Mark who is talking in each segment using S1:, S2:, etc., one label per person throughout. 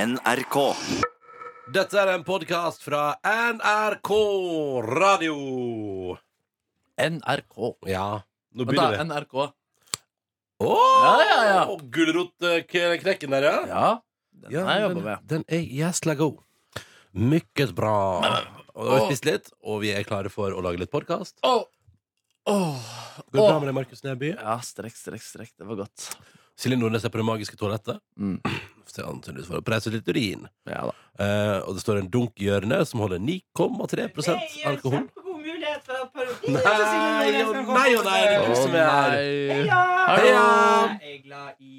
S1: NRK.
S2: Dette er en podkast fra NRK Radio.
S3: NRK.
S2: Ja, nå
S3: Men da,
S2: begynner vi.
S3: NRK.
S2: Å,
S3: Ja, ja, ja.
S2: Gulrotknekken der, ja.
S3: Ja, den har jeg jobba
S2: den,
S3: med.
S2: den er jæsla god. Mykket bra. Og da har vi spist litt, og vi er klare for å lage litt podkast.
S3: Åh, åh,
S2: Går det
S3: åh.
S2: bra med deg, Markus Neby?
S3: Ja, strekk, strekk, strekk. Det var godt.
S2: Silje Nordnes er på det magiske toalettet.
S3: Mm.
S2: Så er han tydeligvis for å presse litt urin.
S3: Ja da.
S2: Eh, og det står en dunk i hjørnet som holder 9,3 alkohol.
S4: Det er jo en kjempegod mulighet for å parodi.
S2: Nei,
S4: Så sier
S2: å
S4: noen som
S2: nei,
S4: kommer
S2: å nei, det er
S4: på
S2: du
S3: Å
S2: som er her.
S3: nei.
S4: Heia!
S2: Heia!
S4: Jeg er glad i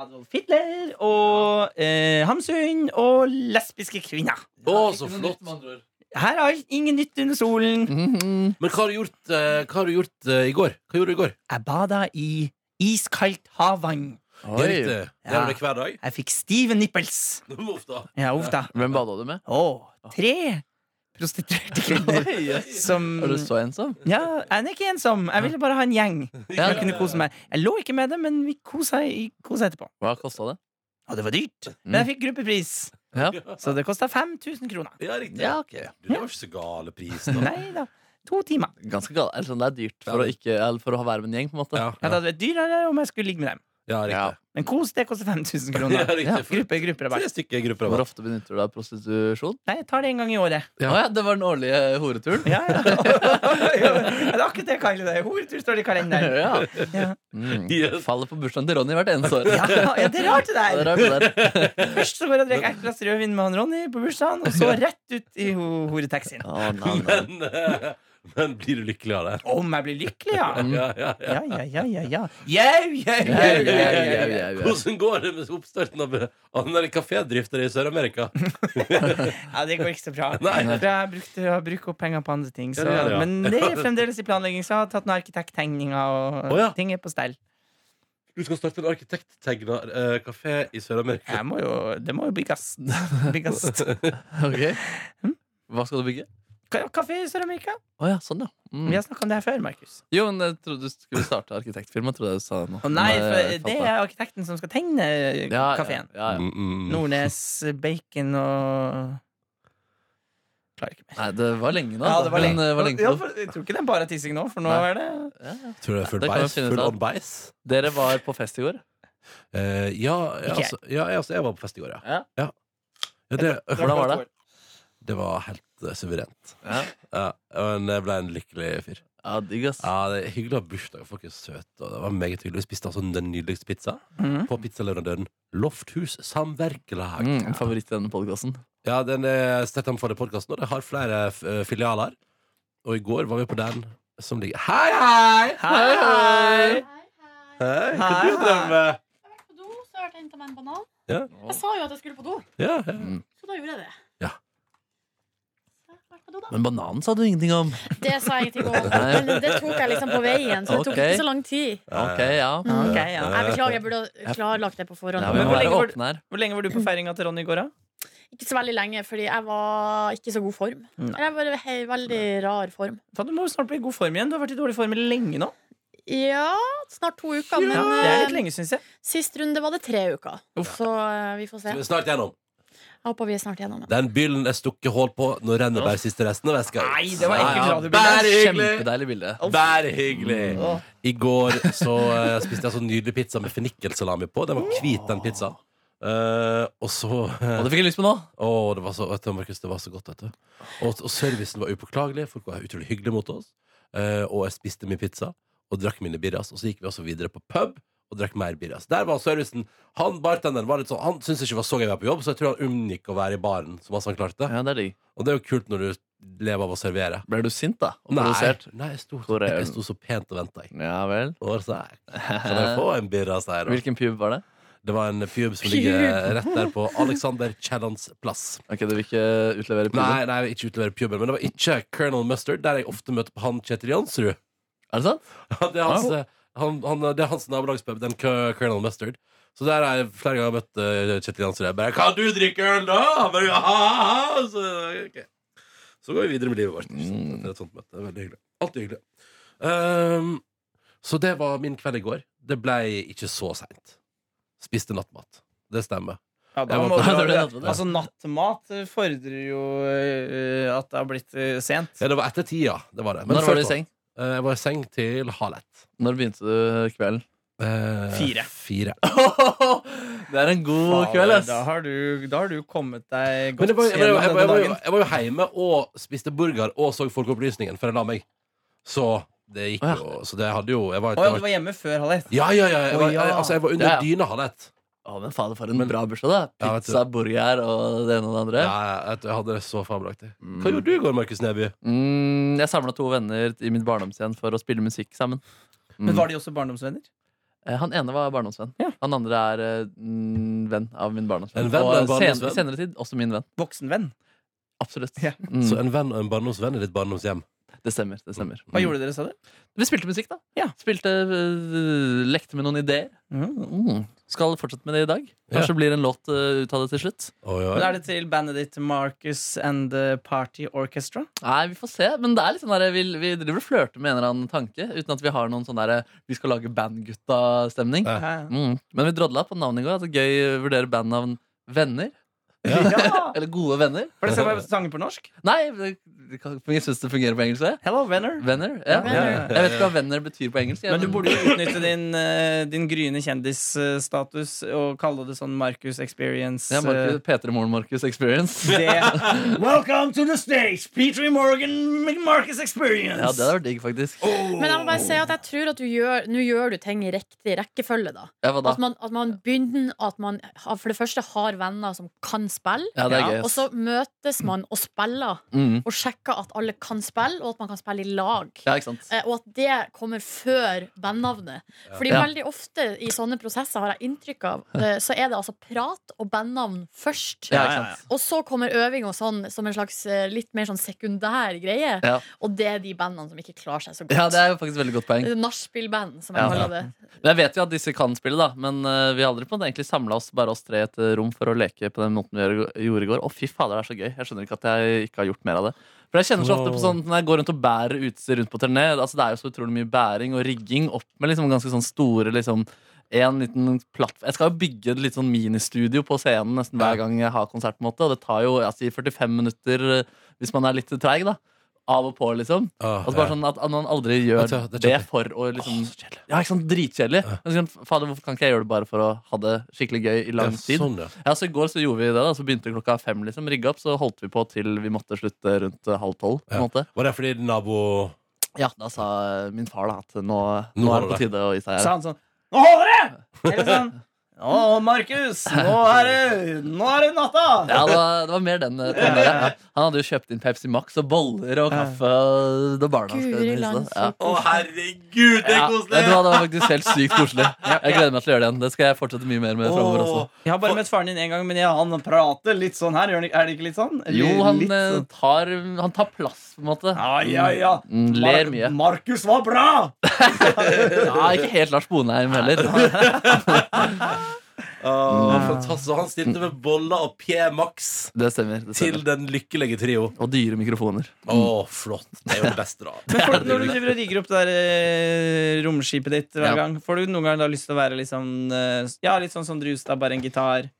S4: Adolf Hitler og eh, Hamsun og lesbiske kvinner.
S2: Å, så flott.
S4: Her er alt ingen nytt under solen.
S3: Mhm.
S2: Men hva har du gjort, eh, hva har du gjort eh, i går? Hva gjorde du i går?
S4: Jeg bada i iskaldt havvann.
S2: Det er
S3: Oi.
S2: riktig. Det
S4: Ja.
S2: gjør det hver dag.
S4: Jeg fikk stive nipples.
S2: Uff da.
S4: Ja, uff da.
S3: Hvem bada du med?
S4: Og tre prostituerte kvinner
S3: Er
S4: som
S3: du så ensom?
S4: ja, Jeg er ikke ensom. Jeg ville bare ha en gjeng.
S3: Ja.
S4: Jeg kunne kose meg. Jeg lå ikke med dem, men vi kosa, kosa etterpå.
S3: Hva kosta det?
S4: Og det var dyrt. Men jeg fikk gruppepris,
S3: Mm. Ja.
S4: så det kosta 5000 kroner.
S2: Ja, riktig.
S3: Ja, ok.
S2: Du, det var ikke så gale pris, da.
S4: Nei da. To timer.
S3: Ganske gal. Eller sånn, det er dyrt for å, ikke, eller for å være med en gjeng, på en måte.
S2: Ja,
S4: Ja, det
S2: ja.
S4: hadde vært dyrere om jeg skulle ligge med dem.
S2: ja
S3: Ja.
S2: riktig.
S4: Men kos, det koster 5000
S2: Ja,
S4: kroner.
S2: riktig. For
S4: Gruppe, grupperabatt.
S2: Tre stykker i grupper.
S3: Hvor
S2: da.
S3: ofte benytter du deg av prostitusjon?
S4: Nei, jeg tar det en gang i året.
S3: Ja. ja, Det var den årlige horeturen?
S4: Ja, ja. Ja, men Det er akkurat det jeg kaller det. Horetur står det i kalenderen.
S3: Ja.
S4: Ja.
S3: Mm.
S2: Yes.
S3: Faller på bursdagen til Ronny hvert eneste år.
S4: Ja, ja, det er rart, det
S3: Ja, det
S4: der.
S3: er det der.
S4: Først så går jeg og drikker ett glass rødvin med han Ronny på bursdagen, og så rett ut i ho- horetaxien.
S3: Å, nei, nei.
S2: Men, eh, men blir du lykkelig av det?
S4: Om jeg blir lykkelig, ja.
S3: Mm.
S2: Ja, ja, ja.
S4: Ja, ja, ja, ja. ja. Jau, jau, jau,
S3: Jau, jau,
S4: jau,
S3: jau,
S4: jau.
S3: jau, jau.
S2: Hvordan går det med oppstarten av, av den der kafédrifta i Sør-Amerika?
S4: Ja, det går ikke så bra.
S2: Nei.
S4: For jeg brukte å bruke opp penger på andre ting. Så,
S2: Ja, det gjør det, ja.
S4: Men det er fremdeles i planlegging, så jeg har tatt noen arkitekttegninger, og
S2: Å, ja.
S4: ting er på stell.
S2: Du skal starte en arkitekttegna eh, kafé i Sør-Amerika.
S4: Jeg må jo, det må jo bygges. Bygges.
S3: Ok.
S4: Mm.
S3: Hva skal du bygge?
S4: Ka- Kafé i Sør-Amerika?
S3: Å ja, sånn, ja. Mm.
S4: Vi har snakka om det her før, Markus.
S3: Jo, men jeg trodde du skulle starte arkitektfirma. Trodde jeg du sa nå.
S4: Å nei,
S3: Men,
S4: for
S3: eh,
S4: det
S3: falt
S4: er arkitekten som skal tegne
S3: meg. ja,
S4: kafeen.
S3: Ja, ja, ja.
S2: Mm, mm.
S4: Nordnes, Bacon og Klarer ikke mer.
S3: Nei, det var lenge nå.
S4: Ja, det var
S3: men,
S4: lenge.
S3: eh, det var lenge
S4: Ja,
S3: siden.
S4: for, jeg tror ikke det er bare tissing nå, for nå
S3: Nei.
S4: er det
S3: Ja, ja.
S2: Tror du det er full
S3: Det kan
S2: beis?
S3: vi finne ut
S2: Full
S3: av.
S2: on beis?
S3: Dere var på fest i går.
S2: Eh, ja, ja,
S4: Ikke jeg.
S2: altså, ja, ja, altså, jeg var på fest i går, ja.
S3: Ja.
S2: ja. ja det,
S3: Hvordan var det?
S2: det var helt eh, suverent.
S3: Ja,
S2: Ja, men jeg ble en lykkelig fyr.
S3: ja digg, ass.
S2: Ja, det er Hyggelig å ha bursdag. Folk er søte. Og det var meget hyggelig. Vi spiste altså den nydeligste pizza
S4: Mhm.
S2: på pizzaleverandøren Lofthus Samverkelag.
S3: Mm, en favoritt i denne podkasten.
S2: Ja, den eh, er sterkt anbefalt i podkasten, og det har flere eh, filialer. Og i går var vi på den som ligger Hei, hei!
S4: Hei, hei!
S2: Hei, Hva
S4: Hei,
S2: du driver med?
S5: Jeg har vært på do, så har jeg henta meg en banan.
S2: Ja.
S5: Jeg sa jo at jeg skulle på do,
S2: Ja, ja.
S3: Mm.
S5: så da gjorde jeg det.
S2: Ja.
S5: Så jeg har vært på do da.
S3: Men bananen sa du ingenting om.
S5: Det sa jeg ingenting om,
S3: Nei.
S5: men det tok jeg liksom på veien. Så det tok
S3: Ok.
S5: ikke så lang tid.
S3: Ok, ja.
S4: Ja, ok, ja.
S5: Jeg beklager, jeg burde ha klarlagt det på forhånd.
S3: ja vi
S4: men
S3: må
S4: hvor
S3: være
S4: lenge var-
S3: åpne her.
S4: Hvor lenge var du på feiringa til Ronny i går, da?
S5: Ikke så veldig lenge, fordi jeg var ikke i så god form.
S4: Nei.
S5: Eller Jeg var i he- veldig rar form.
S4: Faen, Du må jo snart bli i god form igjen. Du har vært i dårlig form lenge nå.
S5: Ja, snart to
S4: Ja,
S5: uker, men
S4: det er litt
S5: eh,
S4: lenge, syns jeg.
S5: sist runde var det tre uker. Så eh, vi får se.
S2: Så vi er Snart gjennom.
S5: Jeg håper vi er snart gjennom. det.
S2: Den byllen er stukket hull på. Nå renner bare siste resten av veska
S4: Nei,
S2: ut.
S4: det var ekkelt
S3: Ja, ja.
S4: radiobilde.
S3: Kjempedeilig bilde.
S2: Bare hyggelig. I går så eh, spiste jeg så nydelig pizza med fennikelsalami på. Den var hvit, den pizzaen. Eh, og så eh,
S3: Og det fikk jeg lyst på nå.
S2: Å, det var så, vet du, Markus, det var så godt, vet du. Og, og servicen var upåklagelig. Folk var utrolig hyggelige mot oss. Eh, og jeg spiste min pizza og drakk mine birras. Og så gikk vi også videre på pub og drakk mer birras. Der var servicen. Han bartenderen var litt sånn Han syntes ikke det var så gøy å være på jobb, så jeg tror han unngikk å være i baren så masse han klarte.
S3: Ja, det er digg.
S2: Og det er jo kult når du lever av å servere.
S3: Ble du sint, da? Og
S2: Nei,
S3: provosert?
S2: nei jeg, sto,
S3: Hvor er den?
S2: jeg sto så pent og venta.
S3: Ja vel.
S2: Kan jeg få en birras her? da?
S3: Hvilken pub var det?
S2: Det var en pub som
S5: Pub.
S2: ligger rett der på Alexander Kiellands plass.
S3: Ok, Du vil ikke utlevere puben?
S2: Nei, nei, ikke utlevere puben, men det var ikke Colonel Mustard, der jeg ofte møter på han Kjetil Jansrud.
S3: Er det sant?
S2: Ja, Det er hans, eh, han, han, det er hans nabolagspub, den K- Colonel Mustard. Så der har jeg flere ganger møtt eh, Kjetil Jansrud. Jeg bare 'Kan du drikke øl, da?' Han bare, «Ja, ha, ha, ha». Så, ok. så går vi videre med livet vårt.
S3: Mm.
S2: Etter et sånt møte. Det er veldig hyggelig. Alltid hyggelig. Ehm, så det var min kveld i går. Det ble ikke så seint. Spiste nattmat. Det stemmer.
S4: Ja, da
S2: Jeg var
S4: må
S2: på-
S4: du,
S3: Ja, det er det jeg tenkte på, det.
S4: altså, nattmat eh, fordrer jo eh, at det har blitt eh, sent.
S2: Ja, det var etter tida. Det var det. Men
S3: Når var
S2: før
S3: du i
S2: tolv.
S3: seng?
S2: Eh, Jeg var i seng til halv ett.
S3: Når begynte du kvelden?
S2: Eh,
S4: Fire.
S2: fire.
S3: det er en god kveld, ass.
S4: Da har, du, da har du kommet
S2: Men
S4: deg godt
S2: jeg var, jeg, var, jeg, var, jeg, var, jeg,
S4: gjennom denne
S2: var,
S4: dagen.
S2: jeg var jo hjemme og spiste burger og så Folkeopplysningen før jeg la meg. Så det gikk
S3: Å, ja.
S2: jo Så det hadde jo jeg var,
S4: Å ja,
S2: jeg
S4: du
S2: var,
S4: var hjemme før halv ett?
S2: Ja, ja, ja. Jeg var,
S4: Å, ja.
S2: jeg, altså, jeg var under
S3: Ja, ja.
S2: dyna halv ett.
S3: Å, men fader, for en
S2: Men-
S3: bra bursdag, da.
S2: Ja, vet du.
S3: Pizza, burger og det ene og det andre.
S2: Ja, jeg, jeg hadde det så fabelaktig.
S3: Mm.
S2: Hva gjorde du i går, Markus Neby?
S3: Mm, jeg samla to venner i min barndomshjem for å spille musikk sammen. Mm.
S4: Men var de også barndomsvenner?
S3: Eh, Han ene var barndomsvenn.
S4: Ja.
S3: Han andre er eh, mm, venn av min barndomsvenn.
S2: En venn av en
S3: og sen-
S2: barndomsvenn?
S3: senere tid også min venn.
S4: Voksenvenn?
S3: Absolutt.
S4: Ja.
S3: Mm,
S2: Så en venn og en barndomsvenn i ditt barndomshjem.
S3: det stemmer. det stemmer
S2: Mm.
S3: Mm.
S4: Hva gjorde dere, sa du?
S3: Vi spilte musikk, da.
S4: Ja.
S3: Spilte, eh, Lekte med noen ideer. Mm. Skal fortsette med det i dag. Kanskje blir en låt eh, ut av det til slutt.
S2: Oi, oi.
S4: Men er det til bandet ditt Marcus and the Party Orchestra?
S3: Nei, vi får se. Men det er litt sånn der, vi, vi driver og flørter med en eller annen tanke uten at vi har noen sånn der, vi skal lage bandgutta-stemning.
S2: Ja.
S4: Hæ?
S3: Mm. Men vi drodla på navnet i går. At det er gøy å vurdere bandnavn Venner.
S4: Ja.
S3: Eller Gode venner.
S4: For det skal være sanger på norsk?
S3: Nei, det- det kan- jeg syns det fungerer på engelsk. det.
S4: Hello, venner.
S3: Venner. Ja.
S5: Ja, venner.
S3: Jeg vet ikke hva venner betyr på engelsk. jeg,
S4: Men du burde jo utnytte din, eh, din gryende kjendisstatus og kalle det sånn Marcus Experience.
S3: ja,
S4: eh,
S3: Marcus, Peter Moren Marcus Experience.
S4: det. Welcome to the stage, Peter Morgan Marcus Experience.
S3: Ja, det hadde vært digg, faktisk.
S5: Men jeg må bare si at jeg tror at du gjør Nå gjør du ting i riktig rekkefølge, da.
S3: Ja, hva da?
S5: At man, at man begynner At man har- for det første har venner som kan spille,
S3: Ja, det er
S4: Ja,
S3: gøy.
S5: og
S3: ass.
S5: så møtes man og spiller,
S3: Mm.
S5: og sjekker at alle kan spille, og at man kan spille i lag.
S3: Ja, ikke sant?
S5: Eh, Og at det kommer før bandnavnet. Fordi
S3: Ja.
S5: veldig ofte i sånne prosesser har jeg inntrykk av, eh, så er det altså prat og bandnavn først.
S3: Ja, ikke sant?
S5: Og så kommer øving og sånn som en slags eh, litt mer sånn sekundær greie.
S3: Ja.
S5: Og det er de bandene som ikke klarer seg så godt.
S3: Ja, det er jo faktisk et veldig godt poeng.
S5: Det er Nachspielband, som jeg
S3: Ja.
S5: kaller det.
S3: Men jeg vet jo at disse kan spille, da. Men eh, vi har aldri på en måte egentlig samla oss bare oss tre i et eh, rom for å leke på den måten vi gjør- gjorde i går. Å, fy fader, det er så gøy. Jeg skjønner ikke at jeg ikke har gjort mer av det. For jeg kjenner så ofte på sånn når jeg går rundt og bærer utstyr rundt på turné. Altså, det er jo så utrolig mye bæring og rigging opp med liksom ganske sånn store liksom en liten plattform Jeg skal jo bygge et litt sånn ministudio på scenen nesten hver gang jeg har konsert. på en måte Og det tar jo altså, i 45 minutter, eh, hvis man er litt treig, da. Av og på, liksom.
S2: Ah,
S3: Altså bare
S2: ja.
S3: sånn at, at man aldri
S2: Vet
S3: gjør
S2: du hva, det
S3: det,
S2: er kjedelig.
S3: for å liksom Ja, ikke sant, Dritkjedelig.
S2: Ja.
S3: Men sånn, Fader, hvorfor kan ikke jeg gjøre det bare for å ha det skikkelig gøy i lang
S2: Ja,
S3: tid?
S2: Sånn, ja.
S3: Ja, så I går så gjorde vi det. da Så begynte klokka fem. liksom Rigga opp, så holdt vi på til vi måtte slutte rundt eh, halv tolv. på en
S2: Ja.
S3: måte
S2: Var det fordi nabo
S3: Ja, Da sa eh, min far da at nå,
S2: Nå
S3: nå er det på
S2: holder det.
S3: tide å gi seg.
S4: Sa han sånn Nå holder det! Eller sånn Å, Markus, nå er det, nå er det natta!
S3: Ja, det var, det var mer den eh, tonen der, ja. Han hadde jo kjøpt inn Pepsi Max og boller og kaffe. Og det barna skulle
S5: Guri
S3: spise,
S5: land,
S3: ja.
S5: så koselig.
S4: herregud,
S3: Ja, vet du hva, det var faktisk helt sykt koselig. Jeg gleder meg til å gjøre det igjen. Det skal jeg fortsette mye mer med fremover også.
S4: Jeg har bare møtt faren din én gang, men jeg, han prater litt sånn her. gjør han ikke- Er det ikke litt sånn?
S3: Jo,
S4: Eller
S3: han
S4: litt
S3: eh,
S4: sånn.
S3: tar, han tar plass, på en måte.
S4: Ja, ja, ja.
S3: Mm, ler mye.
S4: Mar Markus var bra!
S3: Ja, ikke helt Lars Bonheim heller.
S2: Ah, Fantastisk. Han stilte med boller og P. Max
S3: Det stemmer. Det
S2: til
S3: stemmer.
S2: den lykkelige trio.
S3: Og dyre mikrofoner.
S2: Å, flott. Det er jo det beste, da.
S4: Men får, når du driver og rigger opp det der eh, romskipet ditt hver
S3: Ja.
S4: gang, får du noen gang da lyst til å være liksom eh, Ja, litt sånn som Drustad, bare en gitar.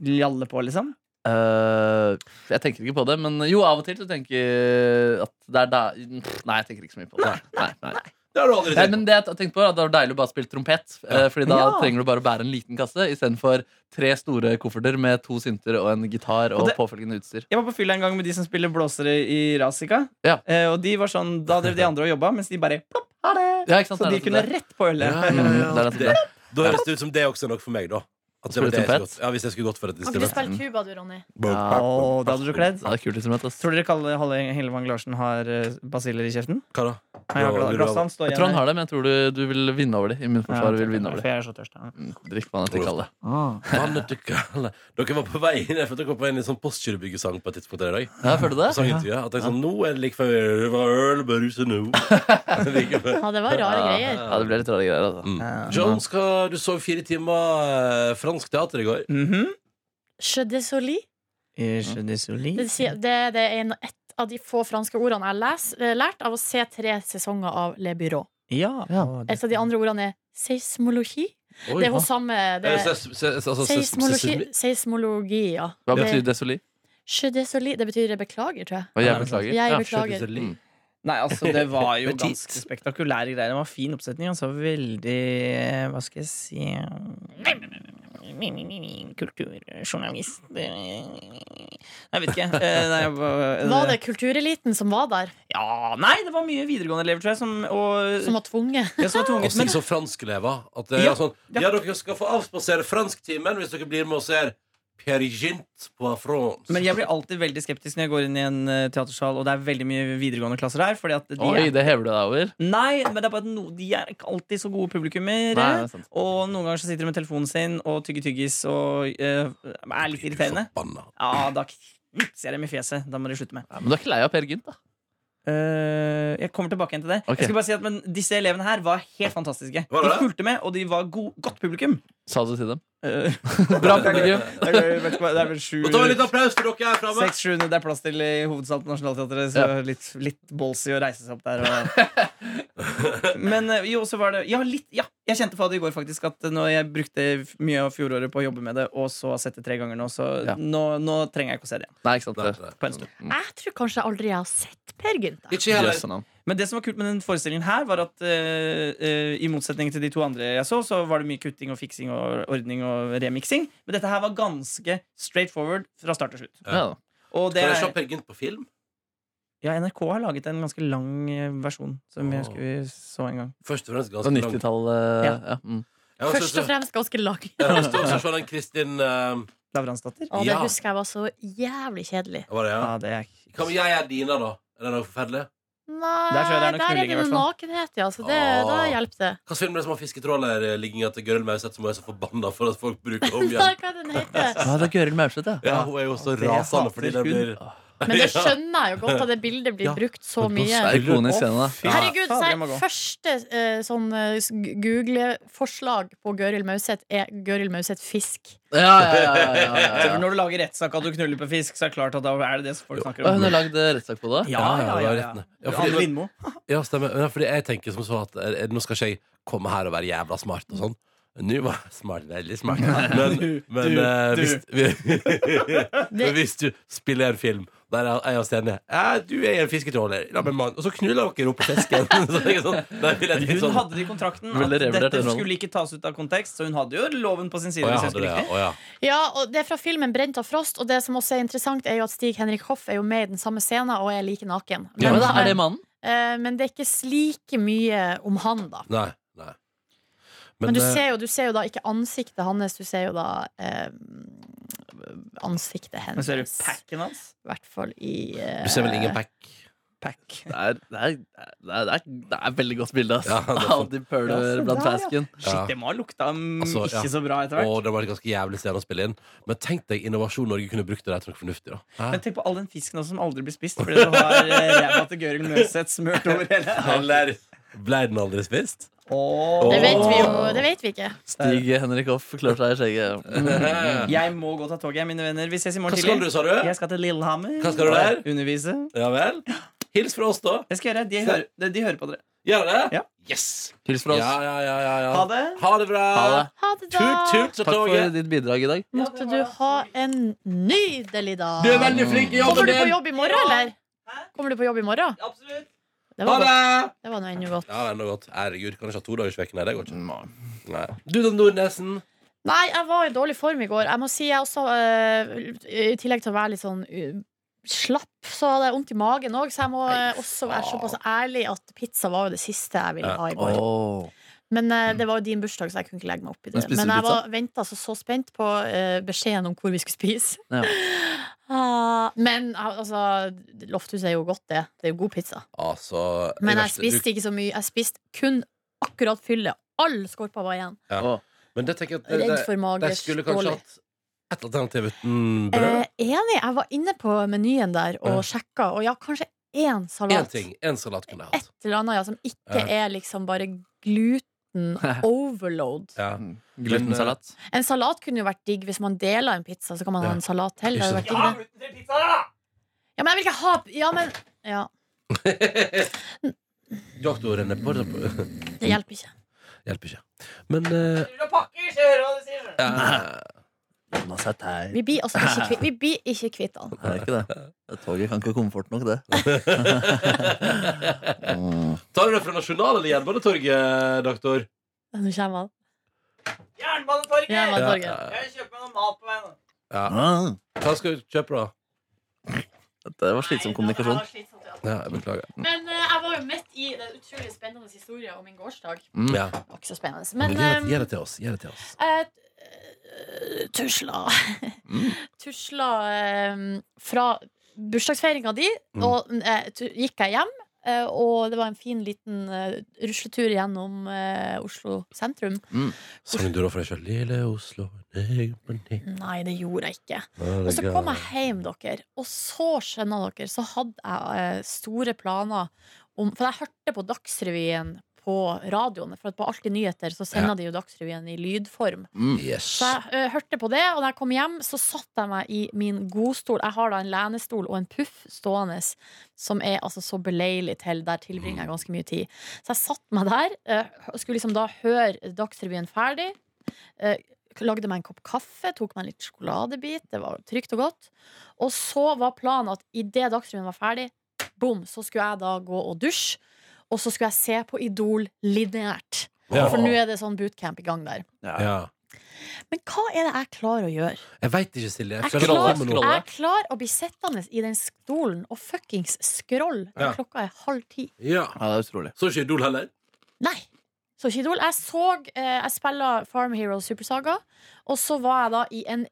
S4: Jalle på, liksom.
S3: Eh, jeg tenker ikke på det, men jo, av og til så tenker jeg at det er da Nei, jeg tenker ikke så mye på det. Nei, nei, nei.
S2: Det har du aldri
S3: Nei,
S2: tenkt
S3: men det jeg tenkte på var at det var deilig å bare spille trompet. eh, Fordi da
S4: Ja.
S3: trenger du bare å bære en liten kasse istedenfor tre store kofferter med to synter og en gitar og,
S4: Og det-
S3: påfølgende utstyr.
S4: Jeg var på fylla en gang med de som spiller blåsere i Razika.
S3: Ja.
S4: Eh, og de var sånn, da drev de andre og jobba, mens de bare plopp, ha det!
S3: Ja, ikke sant?
S4: Så
S3: Det er
S4: de
S3: nettopp
S4: kunne
S3: det.
S4: rett på ølet.
S2: Ja, ja,
S3: Mm,
S2: ja,
S3: det er
S2: det-
S3: nettopp det.
S2: Da høres det ut som det er også noe for meg, da. At det
S3: Spiller
S2: var det jeg
S3: trompet?
S2: skulle gått- ja, hvis jeg skulle gått for et
S5: Kan ikke du
S2: instrument.
S5: spille tuba, du, Ronny?
S3: Ja.
S4: Å, det hadde du kledd.
S3: Ja, det er kult liksom. instrument, ass.
S4: Tror dere Kalle Halle Hellevang Larsen har eh, basiller i kjeften?
S2: Hva da?
S4: Nei, jeg har
S2: Jo,
S4: gla-
S2: du
S4: glasset
S2: har-
S4: hans står
S3: Jeg tror han
S4: igjen her.
S3: har det, men jeg tror du, du vil vinne over det. I min
S4: Ja,
S3: forsvar vil vinne over
S4: For
S3: det.
S4: jeg er så tørst. ja.
S3: Mm, Drikk vann etter kallet.
S2: Vannet du kaller- Dere var på vei inn, jeg følte dere var på vei inn i en sånn postkirkebyggesang på et tidspunkt her i dag.
S3: Ja, følte du det?
S2: Sangintervjuet. At jeg sånn Nå er det like før det var øl, brus og nå. Like før.
S5: Ja, det var rare greier.
S3: Ja, det ble litt rare greier, altså.
S2: Mm. Jones, hva, du så fire timer eh, fransk teater i går.
S4: Mhm.
S5: Je désolé.
S4: Er ikke det så
S5: Det,
S4: lite?
S5: sier- det, det er en- et av de få franske ordene jeg har les- eh, lært av å se tre sesonger av Le Bureau.
S4: Ja.
S3: Ja.
S4: å, det-
S5: Et av de andre ordene er seismologi,
S2: Oi,
S5: Det er hun
S2: hva?
S5: samme det
S2: Eh,
S5: er
S2: ses- ses- altså, ses-
S5: seismologi,
S2: sesmi-
S5: seismologi, ja.
S3: Hva
S5: Det-
S3: betyr desoli?
S5: Je désolé. Det betyr jeg beklager, tror jeg.
S3: Og jeg
S2: Nei,
S3: beklager.
S5: Jeg
S2: Ja,
S5: beklager.
S2: skjønnhetslig.
S3: Mm.
S4: Nei, altså, det var jo
S2: Men tit.
S4: ganske spektakulære greier. Det var fin oppsetning. Altså, veldig eh, Hva skal jeg si Kulturjournalist eh, Jeg vet ikke. Eh, Nei, jeg, bare-
S5: Var det kultureliten som var der,
S4: Ja, nei, det var mye videregående-elever, tror jeg, som, og,
S5: som var tvunget?
S4: ja, som
S2: Og
S4: var tvunget.
S2: stikk
S4: Men
S2: som franskelever. At det er
S4: Ja,
S2: sånn
S4: ja.
S2: Ja, dere skal få avspasere fransktimen hvis dere blir med og ser Peer Gynt på France.
S4: Men jeg blir alltid veldig skeptisk når jeg går inn i en eh, teatersal, og det er veldig mye videregående klasser her. Fordi at de
S3: Oi,
S4: er,
S3: det hever du deg over?
S4: nei, men det er bare at no, de er ikke alltid så gode
S3: Nei,
S4: publikummere.
S3: det er sant.
S4: og noen ganger så sitter de med telefonen sin og tygger tyggis og eh, er litt irriterende.
S2: Forbanna.
S4: Ja, da knipser jeg dem i fjeset. Da må de slutte med.
S3: Nei, men du er ikke lei av Per Gynt, da?
S4: Eh, jeg kommer tilbake igjen til det.
S3: Ok.
S4: Jeg skal bare si at men Disse elevene her var helt fantastiske.
S2: Var
S4: de
S2: det?
S4: fulgte med, og de var go godt publikum.
S3: Sa du til dem?
S4: Eh,
S3: Bra publikum.
S4: det er vet ikke hva- det er vel sju
S2: Nå tar vi en liten applaus for dere her framme.
S4: Seks, sju, det er plass til i hovedsalen på Nationaltheatret. Så litt, litt ballsy å reise seg opp der. Og... Men eh, jo, så var det Ja, litt, ja. jeg kjente på det i går, faktisk. At når jeg brukte f- mye av fjoråret på å jobbe med det, og så har sett det tre ganger nå, så
S3: Ja.
S4: nå, nå trenger jeg ikke å se det igjen.
S3: Nei, ikke sant.
S2: Nei,
S3: det-
S2: nei.
S4: På en stund.
S3: Mm.
S5: Jeg tror kanskje aldri jeg har sett Per Gynt. jeg.
S2: Ikke heller.
S3: Jøsse navn.
S4: Men det som var kult med den forestillingen her, var at eh, eh, i motsetning til de to andre jeg så, så var det mye kutting og fiksing og ordning og remiksing. Men dette her var ganske straight forward fra start til slutt.
S2: Ja.
S3: Ja, da.
S4: Og det
S2: Kan jeg
S4: er-
S2: se Peer Gynt på film?
S4: Ja, NRK har laget en ganske lang eh, versjon som jeg
S2: Åh.
S4: husker vi så en gang.
S2: Først og fremst
S3: Det var
S2: ganske lang.
S3: 90-tallet.
S4: Ja.
S3: Ja. Mm.
S2: Jeg har
S5: Først
S2: også-
S5: og fremst ganske lang.
S2: jeg har også også sett den Kristin eh,
S4: Lavransdatter.
S5: Og det
S2: Ja.
S5: husker jeg var så jævlig kjedelig.
S2: Hva var det, ja?
S4: Ja, det er
S2: Hva med Jeg er dina, da? Er den også forferdelig?
S5: Nei,
S4: Der tror jeg det er noe
S5: der er
S4: knulling,
S5: det
S4: i hvert
S5: noe
S4: fall.
S5: nakenhet, ja. Så det,
S2: Ah.
S5: da hjelper det.
S2: Hvilken film er det som har fisketrålerligginga til Gøril Mauseth, som er så forbanna for at folk bruker om
S5: Nei,
S2: igjen?
S5: hva den heter.
S3: Ja, det er Gøril Mauseth, ja.
S2: Ja, hun er jo så
S4: Det
S2: rasende fordi
S4: hater
S2: det blir
S5: Men det skjønner jeg jo godt, at det bildet blir
S2: Ja.
S5: brukt så mye.
S3: Det er Ikonisk scene, da.
S4: Ja.
S5: Herregud,
S4: Fader,
S5: så
S4: jeg må gå.
S5: er første eh, sånn eh, s- Google-forslag på Gøril Mauseth er Gøril Mauseth fisk.
S3: Ja, ja, ja, ja, ja, ja.
S4: Når du lager rettssak og du knuller på fisk, så er det klart at da er det det som folk snakker
S3: Og hun
S4: om.
S3: har lagd rettssak på det?
S2: ja, det er rett, ja. Ja, fordi-
S4: Anne Lindmo.
S2: Ja, stemmer. Ja, fordi jeg tenker som så at eh, nå skal ikke jeg komme her og være jævla smart og sånn. Nå var jeg smart, veldig smart. Men,
S4: Du,
S2: men
S4: du,
S2: eh,
S4: du.
S2: hvis, men hvis du spiller en film der jeg jeg og Stine ja, Du er en fisketråler, la meg mann, og så knuller dere opp på fisken. så tenker jeg sånn, da vil jeg tenke
S4: Hun
S2: sånn
S4: hadde det i kontrakten at
S3: Veldig revurdert
S4: dette
S3: den rollen.
S4: skulle ikke tas ut av kontekst, så hun hadde jo loven på sin side.
S2: Å ja,
S4: hvis jeg
S2: hadde
S4: husker
S2: det, ja.
S4: riktig.
S2: Å, ja.
S5: Ja, og Det er fra filmen 'Brent av frost'. Og det som også er interessant, er jo at Stig-Henrik Hoff er jo med i den samme scenen og er like naken.
S3: Ja, men da er det
S5: men,
S3: mannen?
S5: eh, men det er ikke like mye om han, da.
S2: Nei. nei.
S5: Men du
S2: eh,
S5: ser jo, du ser jo da ikke ansiktet hans, du ser jo da eh, ansiktet
S4: Men
S5: hennes.
S4: så er det packen hans.
S5: I hvert fall i eh,
S2: du ser vel ingen pack?
S4: Pack.
S3: Det er, det, er, det, er, det, er, det er veldig godt bilde, ass.
S2: Ja, det er sant.
S3: Av de pøler
S4: Ja, så
S3: blant
S4: der, ja.
S3: fersken.
S2: Ja.
S4: Shit, det må ha lukta mm,
S2: Altså, ja.
S4: ikke så bra etter hvert.
S2: Og det var en ganske jævlig scene å spille inn. Men tenk deg Innovasjon Norge kunne brukt det der til noe fornuftig. da Hæ?
S4: Men tenk på all den fisken også som aldri blir spist fordi du har eh, ræva til Gøril Møseth smørt over hele.
S2: Eller ble den aldri spist?
S4: Åh.
S5: Det vet vi jo det vet vi ikke.
S3: Stig Henrik Hoff klør seg i skjegget.
S2: Hva
S4: Jeg må gå og ta toget, mine venner. Vi ses i morgen
S2: Mm. skal du,
S4: tidlig.
S2: sa du?
S4: Jeg skal til Lillehammer.
S2: Hva skal du der?
S4: Undervise.
S2: Ja vel? Hils fra oss, da.
S4: Jeg skal gjøre det. De hører, de, de hører på dere.
S2: Gjør det?
S4: Ja.
S2: Yes!
S3: Hils fra
S2: Ja,
S3: oss.
S2: ja, ja, ja, ja.
S4: Ha det.
S2: Ha det bra.
S3: Ha det.
S5: Ha det, da!
S2: Tut, tut, sa
S3: Takk for
S2: toget.
S3: ditt bidrag i dag.
S5: Måtte du ha en nydelig dag.
S2: Du er veldig flink i jobben
S5: Kommer du på
S2: din.
S5: jobb i morgen, eller? Kommer du på jobb i morgen?
S4: Absolutt.
S5: Det
S2: Ha
S5: var,
S2: det!
S5: godt. Det var noe ennå godt.
S2: Ja, ennå godt. Herregud, kan ikke ha to dagers vekk. Nei, det går ikke. Nei. Du, den Nordnesen.
S5: Nei, jeg var i dårlig form i går. Jeg må si jeg også, eh, I tillegg til å være litt sånn eh, slapp, så hadde jeg vondt i magen òg. Så jeg må eh, også være såpass ærlig at pizza var jo det siste jeg ville ha i går.
S3: Åh.
S5: Men eh,
S2: Mm.
S5: det var jo din bursdag, så jeg kunne ikke legge meg opp i det.
S3: Men spiste
S5: Men,
S3: du
S5: jeg
S3: pizza?
S5: var venta så, så spent på eh, beskjeden om hvor vi skulle spise.
S3: Ja.
S5: Ah, men al- altså Lofthuset er jo godt, det. Det er jo god pizza.
S2: Altså
S5: Men jeg
S2: verste- du-
S5: spiste ikke så mye. Jeg spiste kun akkurat fyllet. All skorpa var igjen.
S2: Ja.
S3: Åh.
S2: Men det tenker jeg at det,
S5: Redd
S2: det,
S5: for
S2: det
S5: magers
S2: skulle kanskje
S5: dårlig.
S2: hatt et alternativ uten brød.
S5: Eh, enig. Jeg var inne på menyen der og
S2: Ja.
S5: sjekka, og ja, kanskje én
S2: Én
S5: salat.
S2: ting. Én salat kunne jeg hatt.
S5: Et eller annet ja, som ikke
S2: Ja.
S5: er liksom bare gluten overload.
S2: Ja.
S3: Glutensalat.
S5: En salat kunne jo vært digg hvis man deler en pizza. Så kan man
S2: Ja.
S5: ha en salat til. Det hadde vært
S2: Ikke
S5: digg, det. Ja, men jeg vil ikke ha Ja, men ja,
S2: Doktoren er på
S5: det hjelper ikke.
S2: Hjelper ikke. Men eh, eh,
S3: Jonas er teit.
S5: Vi blir altså ikke kvitt, vi blir ikke kvitt han.
S3: Det er ikke det. Det Toget kan ikke komme fort nok, det. Mm.
S2: Tar du det fra Nasjonal eller Jernbanetorget, doktor?
S5: Nå kommer han.
S4: Jernbanetorget!
S5: Jernbanetorget.
S2: Ja,
S5: Torget.
S2: ja,
S4: Jeg kjøper meg noe mat på veien.
S2: ja.
S3: Ah,
S2: Hva skal du kjøpe, da?
S3: Dette var slitsom kommunikasjon.
S2: Ja, jeg beklager.
S5: Men eh, jeg var jo midt i den utrolig spennende historien om min gårsdag.
S3: Mm.
S2: Ja.
S5: Det var ikke så spennende.
S2: Men Gi det,
S5: Men
S2: gi
S5: eh,
S2: det til oss. Gi det til oss.
S5: jeg eh, tusla
S2: Mm.
S5: Tusla eh, fra bursdagsfeiringa di,
S2: Mm.
S5: og eh, tu- gikk jeg hjem. eh, og det var en fin liten eh, rusletur gjennom eh, Oslo sentrum.
S2: Sangen du da for deg sjøl? Lille Oslo nei, men nei.
S5: Nei, det gjorde jeg ikke.
S2: Nei,
S5: Og så
S2: det
S5: kom
S2: går.
S5: jeg hjem, dere, og så skjønna dere, så hadde jeg eh, store planer om For jeg hørte på Dagsrevyen på radioen, for at på Alltid nyheter så
S2: Ja.
S5: sender de jo Dagsrevyen i lydform.
S3: Mm.
S2: Yes.
S5: Så jeg eh, hørte på det, og da jeg kom hjem, så satt jeg meg i min godstol. Jeg har da en lenestol og en puff stående som er altså så beleilig til. Der tilbringer jeg ganske mye tid. Så jeg satt meg der eh, og skulle liksom da høre Dagsrevyen ferdig. Eh, Lagde meg en kopp kaffe, tok meg en litt sjokoladebit. Det var trygt og godt. Og så var planen at idet Dagsrevyen var ferdig, bom, så skulle jeg da gå og dusje. Og så skulle jeg se på Idol lineært.
S2: Ja.
S5: For nå er det sånn bootcamp i gang der.
S2: ja.
S5: Men hva er det jeg klarer å gjøre?
S2: Jeg veit ikke, Silje. Jeg
S5: Jeg
S2: føler at
S5: klarer,
S2: det kommer noe.
S3: scroller.
S5: jeg klarer å bli sittende i den stolen og fuckings scrolle når
S2: Ja.
S5: klokka er halv ti.
S2: Ja.
S3: Ja, det er utrolig.
S2: Så ikke Idol heller?
S5: Nei! Så ikke Idol. Jeg så eh, Jeg spilla Farm Hero Supersaga, og så var jeg da i en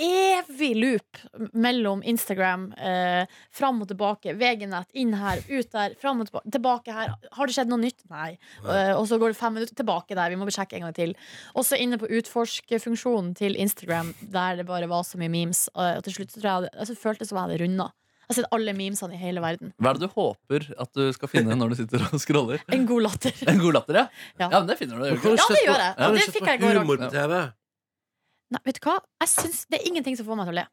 S5: evig loop mellom Instagram, eh, fram og tilbake, VG-nett, inn her, ut der, fram og tilbake, tilbake her. Har det skjedd noe nytt? Nei.
S2: Nei.
S5: Eh, og så går det fem minutter tilbake der, vi må sjekke en gang til. Og så inne på utforskerfunksjonen til Instagram, der det bare var så mye memes. eh, Og til slutt så tror jeg, jeg altså, følte som jeg hadde runda. Jeg har sett alle memesene i hele verden.
S3: Hva er det du håper at du skal finne når du sitter og scroller?
S5: En god latter.
S3: En god latter, ja?
S5: Ja.
S3: Ja, men det finner du. gjør du ikke?
S5: Ja, det gjør jeg.
S3: Ja,
S5: Og det fikk jeg i går òg.
S2: Humor på TV.
S5: Nei, vet du hva? Jeg synes Det er ingenting som får meg til å le.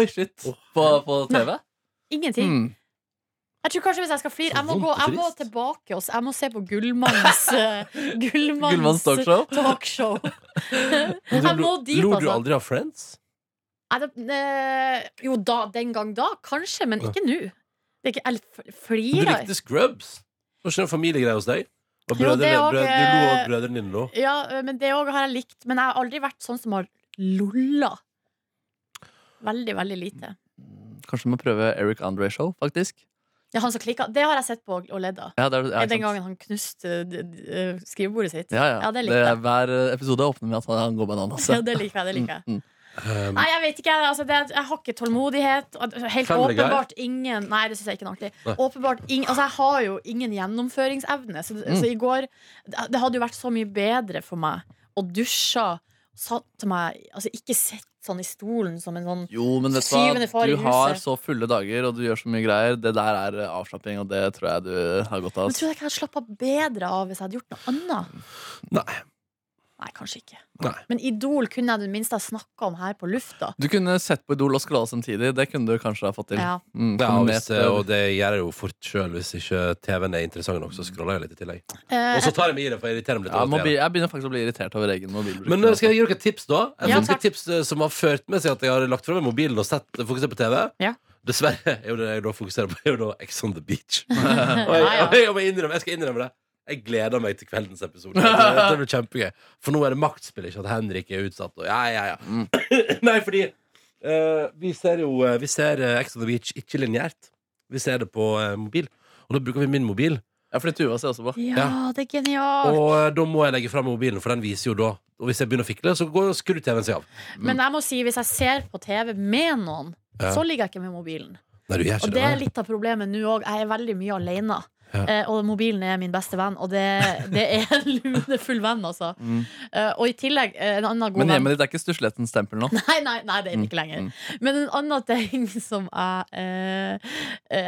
S3: Oi, shit. På, på TV?
S5: Ingenting.
S3: Mm.
S5: Jeg tror kanskje hvis jeg skal flire
S2: Så
S5: jeg, må
S2: vondt
S5: gå-
S2: og
S5: jeg må
S2: trist.
S5: tilbake oss. Jeg må se på Gullmanns eh, Gullmanns,
S3: Gullmanns talkshow?
S5: talkshow.
S2: Men
S5: Jeg
S2: du-
S5: må dit,
S2: Lo du
S5: altså.
S2: aldri av Friends?
S5: Nei, det, eh, jo, da, den gang da, kanskje, men ikke nå. Det er ikke, jeg f-
S2: Du
S5: flirer.
S2: likte Scrubs. Var ikke det en familiegreie hos deg? Og
S5: Jo, det
S2: brødrene,
S5: òg,
S2: brød, du lo av
S5: eh,
S2: brødrene dine nå?
S5: Ja, eh, men det òg har jeg likt. Men jeg har aldri vært sånn som har lolla. Veldig, veldig lite.
S3: Kanskje du må prøve Eric Andre Show, faktisk.
S5: Ja, han som klikka, det har jeg sett på og ledd av.
S3: Ja, det er, ja,
S5: Den
S3: ikke sant.
S5: gangen han knuste d- d- skrivebordet sitt.
S3: Ja, ja.
S5: Ja, det
S3: det
S5: likte jeg.
S3: er hver eh, episode åpner med at han går bananas.
S5: Ja, det liker jeg. det liker jeg
S3: Mm, mm.
S2: Um,
S5: Nei, jeg vet ikke. jeg- Altså, det, er- jeg har ikke tålmodighet. og Helt
S2: Family Guy?
S5: åpenbart ingen Nei, det syns jeg ikke er noe artig.
S2: Nei.
S5: Åpenbart ingen, altså, jeg har jo ingen gjennomføringsevne. Så,
S3: Mm.
S5: så i går Det hadde jo vært så mye bedre for meg å dusje, satt meg Altså ikke sett sånn i stolen som en sånn
S3: Jo, men vet du
S5: Syvende
S3: hva?
S5: far i
S3: Du har
S5: huset.
S3: så fulle dager, og du gjør så mye greier. Det der er eh, avslapping, og det tror jeg du har godt av. altså.
S5: Men
S3: ass.
S5: tror jeg ikke jeg hadde slappa bedre av hvis jeg hadde gjort noe annet?
S2: nei.
S5: Nei, kanskje ikke.
S2: Nei.
S5: Men Idol kunne jeg i det minste ha snakka om her på lufta.
S3: Du kunne sett på Idol og skrolla samtidig. Det kunne du kanskje ha fått til.
S5: Ja.
S3: Mm,
S2: Ja, og
S3: kombinert
S2: hvis, eh,
S3: med-
S2: og det gjør jeg jo fort sjøl hvis ikke TV-en er interessant nok. Så scroller jeg litt i tillegg.
S5: Eh,
S2: Og så tar jeg meg i det, for jeg irriterer meg litt.
S3: ja,
S2: over at jeg
S3: mobil, jeg begynner faktisk å bli irritert over egen mobilbruk.
S2: Men eh, skal jeg gi dere et tips, da? Jeg
S5: Ja,
S2: fikk
S5: takk.
S2: et tips eh, som har ført med seg at jeg har lagt fra meg mobilen og sett fokusert på TV.
S5: Ja.
S2: Dessverre er jo det jeg da fokuserer på, er jo da Ex on the Beach. Og jeg, og
S5: ja, ja.
S2: jeg, må innrømme, jeg skal innrømme det. Jeg gleder meg til kveldens episode. Det det blir kjempegøy. For nå er det maktspill, ikke at Henrik er utsatt. Og ja, ja, ja. Nei, fordi eh, vi ser jo eh, Vi ser eh, Ex on the Beach ikke lineært. Vi ser det på eh, mobil. Og da bruker vi min mobil.
S3: Ja, fordi Tuva ser også på.
S5: ja, det er genialt.
S2: Og eh, da må jeg legge fra meg mobilen, for den viser jo da. Og hvis jeg begynner å fikle, så går skrur TV-en seg av.
S5: Men jeg må si, hvis jeg ser på TV med noen,
S2: Ja.
S5: så ligger jeg ikke med mobilen.
S2: Nei, du gjør
S5: Og
S2: ikke
S5: det
S2: det.
S5: er litt av problemet nå òg. Jeg er veldig mye alene.
S2: Ja.
S5: Eh, og mobilen er min beste venn, og det, det er en lunefull venn, altså.
S3: Mm.
S5: Eh, og i tillegg eh, en annen god
S3: Men
S5: venn
S3: hjemmet ditt er ikke stusslettens tempel nå.
S5: Nei, nei, nei, det er det ikke lenger.
S3: Mm,
S5: Men en annen ting som jeg eh,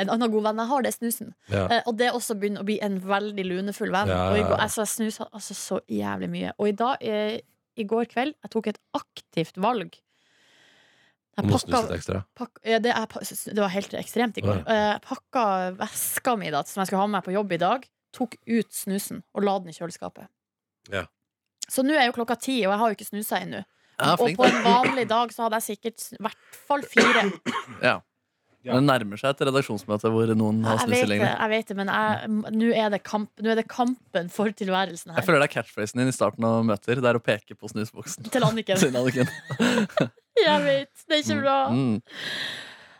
S5: En annen god venn jeg har, det er snusen.
S2: Ja.
S5: Eh, og det også begynner å bli en veldig lunefull venn.
S2: Ja, ja,
S5: Og i
S2: ja.
S5: går, altså, jeg snusa altså, så jævlig mye. Og i, dag, eh, i går kveld jeg tok et aktivt valg. Jeg
S2: Må snuse
S5: pakka,
S2: litt ekstra.
S5: pakk, ja, det, jeg, pa- det var helt ekstremt i går.
S2: Ja.
S5: Eh, pakka veska mi da, som jeg skulle ha med meg på jobb i dag, tok ut snusen og la den i kjøleskapet.
S2: Ja.
S5: Så nå er jo klokka ti, og jeg har jo ikke snusa ennå.
S3: Ja,
S5: og
S3: flink,
S5: på en vanlig dag så hadde jeg sikkert i hvert fall fire.
S3: Men Det nærmer seg et redaksjonsmøte hvor noen har
S5: Jeg
S3: snusset
S5: vet det,
S3: lenger.
S5: jeg vet det men jeg- nå er, det kamp- nå er det kampen for tilværelsen
S3: Jeg
S5: her.
S3: føler det er catchphrasen din i starten av møter. Det er å peke på snusboksen.
S5: Til Anniken.
S3: Til Anniken.
S5: Jeg vet, det er ikke bra.
S3: Mm.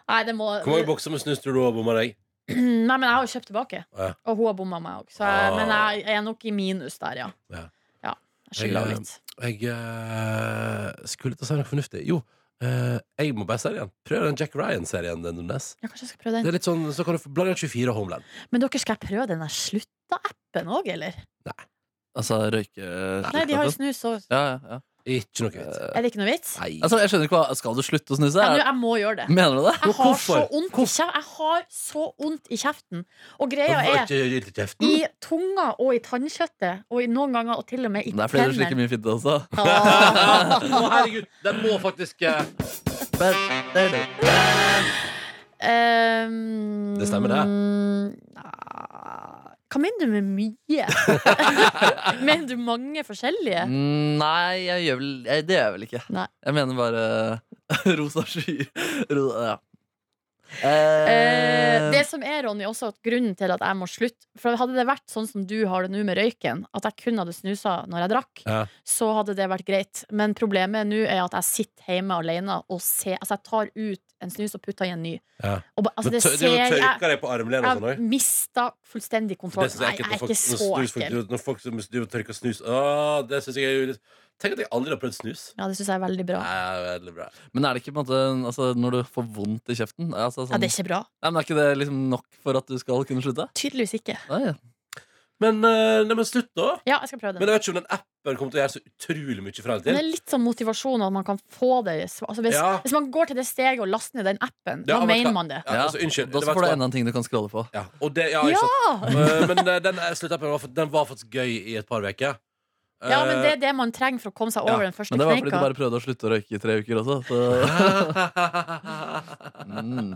S5: Nei, det må
S2: Hvor mange bokser med snus tror du har bomma deg?
S5: Nei, men jeg har jo kjøpt tilbake.
S2: Ja.
S5: Og hun har bomma meg òg.
S2: Ah.
S5: Men jeg er nok i minus der, ja.
S2: Ja.
S5: ja jeg skylder
S2: Jeg,
S5: henne litt.
S2: Jeg eh, skulle til å si noe fornuftig. Jo, eh, jeg må bare si det igjen. Prøv den Jack Ryan-serien. den du leser.
S5: Ja, kanskje jeg skal prøve
S2: Det
S5: den.
S2: er litt sånn, Så kan du få blande 24 og Homeland.
S5: Men dere, skal jeg prøve den der slutta-appen òg, eller?
S3: Altså røyke
S5: Nei, de har jo snus òg.
S3: ja, ja, ja.
S2: Ikke noe vits.
S5: Er det ikke noe vits?
S2: Eh, Nei.
S3: Altså, Jeg skjønner ikke hva Skal du slutte å snuse?
S5: Ja, nå, jeg må gjøre det.
S3: Mener du det?
S5: Jeg har så
S2: hvorfor?
S5: vondt i kjeften. Jeg har så vondt i kjeften. Og greia
S2: Hvorfor
S5: er
S2: ikke gi til kjeften?
S5: i tunga og i tannkjøttet, og i noen ganger og til og med i
S3: Det er flere som slikker mye fitte også.
S5: Ah.
S2: Å, herregud, den må faktisk eh,
S5: Ehm,
S2: Det stemmer, det.
S5: nja, Hva mener du med mye? mener du mange forskjellige?
S3: Mm, Nei, jeg gjør vel, jeg, det gjør jeg vel ikke.
S5: Nei.
S3: Jeg mener bare rosa skyer. Ro, ja.
S5: Eh,
S2: Mm.
S3: Eh,
S5: det som er, Ronny, også at grunnen til at jeg må slutte For Hadde det vært sånn som du har det nå med røyken, at jeg kun hadde snusa når jeg drakk,
S2: Ja.
S5: så hadde det vært greit. Men problemet nå er at jeg sitter hjemme alene og ser Altså, jeg tar ut en snus og putter i en ny.
S2: Ja.
S5: Og, ba- altså,
S2: Men
S5: det
S2: tør-
S5: ser
S2: Du må
S5: jeg
S2: tørke deg på armlenet og sånn
S5: Jeg
S2: òg.
S5: mista fullstendig kontroll. Nei, jeg er ikke så ekkel.
S2: Når folk som driver og tørker snus Å, det synes jeg er jo litt- Tenk at jeg aldri har prøvd snus.
S5: Ja, det syns jeg er veldig bra.
S2: Nei, veldig bra.
S3: men er det ikke på en måte altså, når du får vondt i kjeften altså, sånn,
S5: Ja, det er ikke bra.
S3: Nei, men Er ikke det liksom nok for at du skal kunne slutte?
S5: Tydeligvis ikke.
S3: Nei, ja.
S2: Men, eh, nei, men slutt, da.
S5: Ja, jeg skal prøve
S2: Men
S5: den.
S2: jeg vet ikke om den appen kommer til å gjøre så utrolig mye frem
S5: Men
S2: til.
S5: det er litt sånn motivasjon at man kan få det altså hvis,
S2: Ja.
S5: hvis man går til det steget og laster ned den appen,
S2: Ja,
S5: da
S2: men-
S5: mener man det.
S2: Ja, altså, unnskyld.
S3: Da
S2: det
S3: så
S2: var-
S3: får du enda en ting du kan scrolle på.
S2: Ja, og det, ja, ikke sant? Eh, men eh, den eh, sluttappen var, fakt- den var faktisk gøy i et par uker. Eh,
S5: Ja, men det er det man trenger for å komme seg over den første
S3: Men det var fordi du
S5: kneika.
S3: bare prøvde å slutte å røyke i tre uker også. Så. Mm.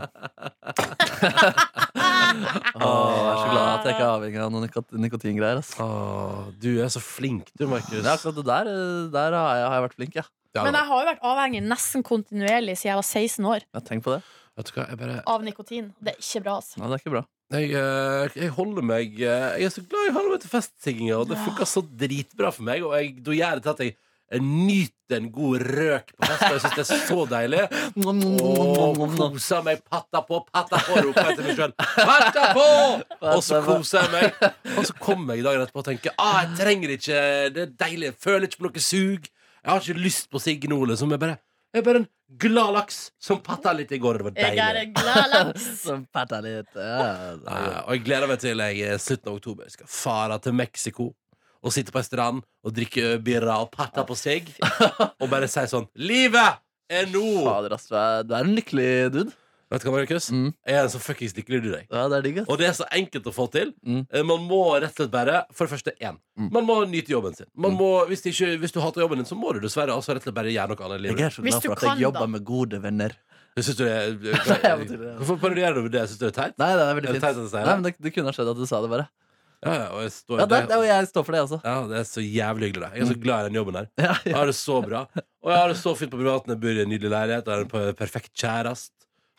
S3: Åh, jeg er så glad at jeg ikke er avhengig av noen nikot- nikotingreier. ass.
S2: Åh, du er så flink, du, Markus.
S3: Det er akkurat det der, eh, der har jeg, har jeg vært flink, ja.
S2: Ja,
S5: Men jeg har jo vært avhengig nesten kontinuerlig siden jeg var 16 år
S3: ja. Tenk på det.
S2: Vet du hva, jeg bare
S5: av nikotin. Det er ikke bra, altså.
S3: Nei, det er ikke bra.
S2: Jeg, eh, jeg holder meg eh, Jeg er så glad jeg holder meg til festsinginga, og det funker så dritbra for meg. Og jeg, da gjør det til at jeg eh, nyter en god røk på fest, og jeg syns det er så deilig. Og koser meg. Patta på, patta på, roper jeg til meg sjøl. Patta på! Og så koser jeg meg. Og så kommer jeg dagen etterpå og tenker ah, jeg trenger ikke det er deilig. Jeg føler ikke på noe sug. Jeg har ikke lyst på sigg nå, liksom. Jeg bare, jeg er bare en glad laks som patta litt i går. og Det var
S5: Jeg er
S2: deilig.
S5: en glad laks.
S3: Som patter litt. Ja, det er
S2: Eh, og jeg gleder meg til jeg eh, slutten av oktober skal fare til Mexico. Og sitte på en strand og drikke birra og patta på sigg. Og bare si sånn Livet
S3: godt.
S2: er nå!
S3: Fader, ass. Du er, du er en lykkelig dude.
S2: Vet du hva, Markus?
S3: Mm.
S2: Jeg er en så fuckings lykkelig du, jeg.
S3: Ja, det er digg, ass.
S2: Og det er så enkelt å få til.
S3: Mm.
S2: Eh, Man må rett og slett bare For det første, én.
S3: Mm.
S2: Man må nyte jobben sin. Man
S3: Mm.
S2: må, hvis, det ikke, hvis du hater jobben din, så må du dessverre altså, rett og slett bare gjøre noe annet
S3: Jeg
S2: i livet.
S3: er så
S5: Hvis
S3: glad
S5: du
S3: for at
S5: kan,
S3: jeg
S5: da.
S3: jobber med gode venner.
S2: Syns du det er
S3: jeg må til det, ja.
S2: Hvorfor parodierer du det? Syns du det er teit?
S3: Nei, det er veldig
S2: Er det
S3: fint.
S2: teit at jeg sier det?
S3: Nei, men det, det kunne ha skjedd at du sa det, bare.
S2: Ja, ja, og jeg står,
S3: Ja, det, det, og jeg står for det, altså.
S2: ja, det er så jævlig hyggelig. da. Jeg er så glad i den jobben her.
S3: Mm. Ja,
S2: Jeg
S3: ja.
S2: har det så bra. Og jeg har det så fint på privaten. Jeg bor i en nydelig leilighet. Jeg har en per- perfekt kjæreste.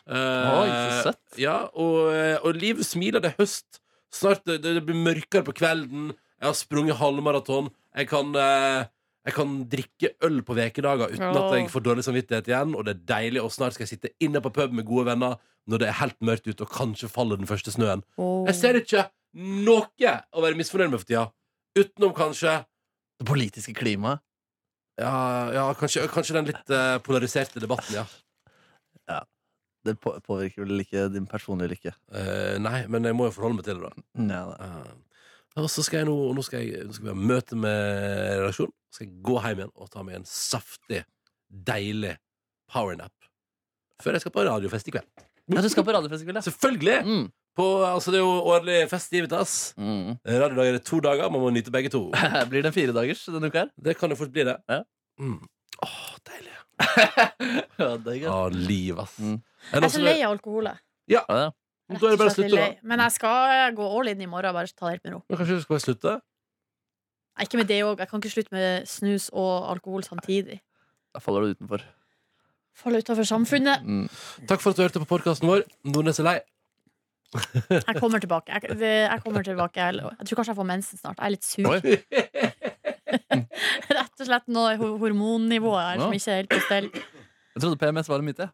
S3: Oi, så søtt.
S2: Ja, og, eh, og livet smiler. Det er høst. Snart det, det blir mørkere på kvelden. Jeg har sprunget halvmaraton. Jeg kan eh, jeg kan drikke øl på vekedager uten at jeg får dårlig samvittighet igjen. Og det er deilig, og snart skal jeg sitte inne på pub med gode venner når det er helt mørkt ute og kanskje faller den første snøen. Jeg ser ikke noe å være misfornøyd med for tida. Utenom kanskje
S3: Det politiske klimaet.
S2: ja, ja kanskje, kanskje den litt eh, polariserte debatten, ja.
S3: Det på, påvirker vel ikke din personlige lykke.
S2: Eh, nei, men jeg må jo forholde meg til det, da.
S3: Ja, det.
S2: Eh, og så skal jeg nå, nå skal jeg, nå skal vi ha møte med redaksjonen. Så skal jeg gå hjem igjen og ta meg en saftig, deilig powernap. Før jeg skal på radiofest i kveld.
S3: ja, du skal på radiofest i kveld, ja.
S2: Selvfølgelig!
S3: Mm.
S2: På, altså, det er jo årlig fest i Vitas.
S3: Mm.
S2: Radiodager er to dager, man må nyte begge to.
S3: Blir det en firedagers denne uka her?
S2: Det kan jo fort bli, det.
S3: Ja.
S2: Mm. Åh, deilig.
S3: Ja, det er gøy.
S2: Åh, liv, ass.
S3: Mm.
S5: Jeg er så lei av alkoholet.
S3: Ja, ja.
S2: Altså, Da er
S5: Rett
S2: det
S5: og
S2: bare å
S5: slett
S2: slutte, da.
S5: lei. Men jeg skal gå all in i morgen, bare ta det helt med ro.
S2: Men kanskje du skal bare slutte?
S5: Nei, Ikke med det òg. Jeg kan ikke slutte med snus og alkohol samtidig.
S3: Da faller du utenfor.
S5: Faller utafor samfunnet.
S3: Mm.
S2: Takk for at du hørte på podkasten vår. Nordnes er lei.
S5: Jeg kommer tilbake. Jeg, det- jeg kommer tilbake Jeg jeg tror kanskje jeg får mensen snart. Jeg er litt sur.
S3: Oi.
S5: Rett og slett noe ho- hormonnivå her som
S3: Ja.
S5: ikke er helt på stell.
S3: Jeg trodde PMS var en myte.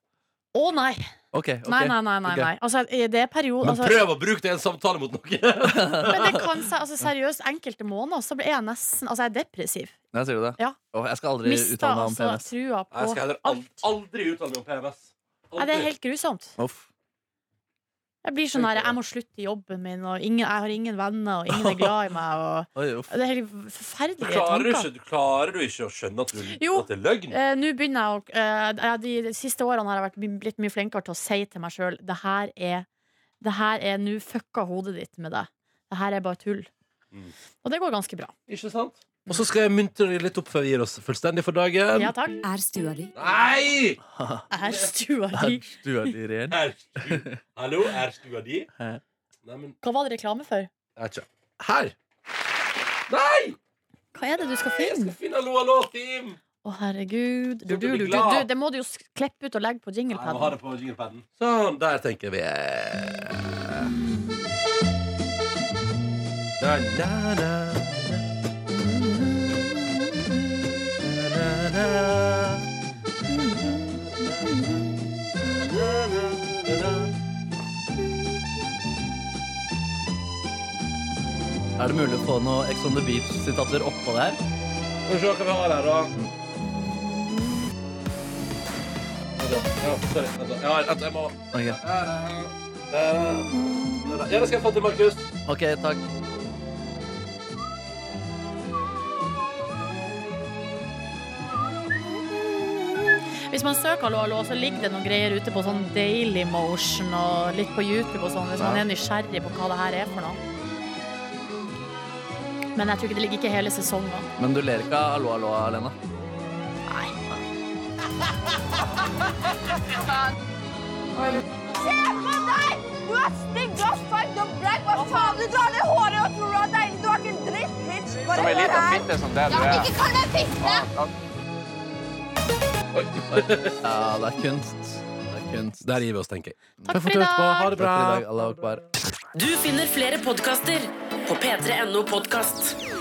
S5: Å nei.
S3: Ok, ok.
S5: Nei, nei, nei. nei,
S3: Ok.
S5: nei. Altså, det er periode
S2: Men
S5: altså,
S2: prøv å bruke det i en samtale mot noen.
S5: Men det kan seg altså, seriøst, enkelte måneder så blir jeg nesten Altså, jeg er depressiv.
S3: Nei, sier du det?
S5: Ja.
S3: Åh, jeg skal aldri
S5: Mista
S3: uttale meg om
S5: altså
S3: PMS.
S5: trua
S2: Jeg skal
S5: på
S2: heller al- aldri uttale meg om PMS.
S5: Nei, det er helt grusomt.
S3: Uff.
S5: Jeg blir sånn her, jeg må slutte i jobben min, og ingen, jeg har ingen venner, og ingen er glad i meg, og
S3: Oi, uff.
S5: Det er helt
S2: Du
S5: forferdelige
S2: klarer,
S5: tanker.
S2: ikke, du klarer du ikke å skjønne at, du,
S5: Jo.
S2: at det er løgn?
S5: Eh, Nå begynner jeg å eh, ja, de, de siste årene har jeg vært my- blitt mye flinkere til å si til meg sjøl det her er Det her er nå fucka hodet ditt med deg. Det her er bare tull.
S2: Mm.
S5: Og det går ganske bra.
S2: Eh, Ikke sant? Og så skal jeg muntre deg litt opp før vi gir oss fullstendig for dagen.
S5: Ja takk.
S1: Er stua di
S2: Nei!
S5: Jeg er stua di.
S3: Du er litt ren.
S2: Er stu- Hallo, er stua di?
S3: Hæ?
S2: Nei, men
S5: Hva var det reklame for?
S2: jeg er ikke Her! Nei!
S5: Hva er det du skal
S2: Jeg
S5: finne?
S2: skal finne Hallo, hallo, team!
S5: Å, herregud.
S2: Du
S5: Du, du,
S2: blir
S5: du, du,
S2: glad.
S5: det må du jo s- klippe ut og legge på
S2: Nei, jeg må ha
S5: jinglepaden.
S2: det på jinglepaden. Sånn, der tenker vi Na, na, na. Na, na, na. Na, na, na.
S3: Er det mulig å få noe Ex on the Beach-sitater oppå det her?
S2: Skal vi se hva vi har her, da. Vent da. Altså, Ja, sorry, vent da. Ja, vent, jeg må
S3: Ok,
S2: Ja, det skal jeg få til, Markus.
S3: Ok, takk.
S5: Hvis man søker Hallo, hallo, så ligger det noen greier ute på sånn Daily Motion og litt på YouTube og sånn, hvis man er nysgjerrig på hva det her er for noe. Men jeg tror ikke det ligger ikke hele sesongen.
S3: Men du ler ikke av Allo Allo alene?
S5: Nei.
S6: Du er stygg, du er feig, du er black, hva faen? Du drar ned håret og tror du er deilig. Du er ikke en dritt, bitch. Bare hør her. Ja, Ikke kall meg fitte!
S3: Ja, det er kunst. Det er kunst.
S2: Der gir vi oss, tenker jeg.
S5: Takk for i dag!
S2: Ha det
S3: Takk for
S2: bra.
S3: i dag, Allah Akbar.
S7: Du finner flere podkaster på p3.no podkast.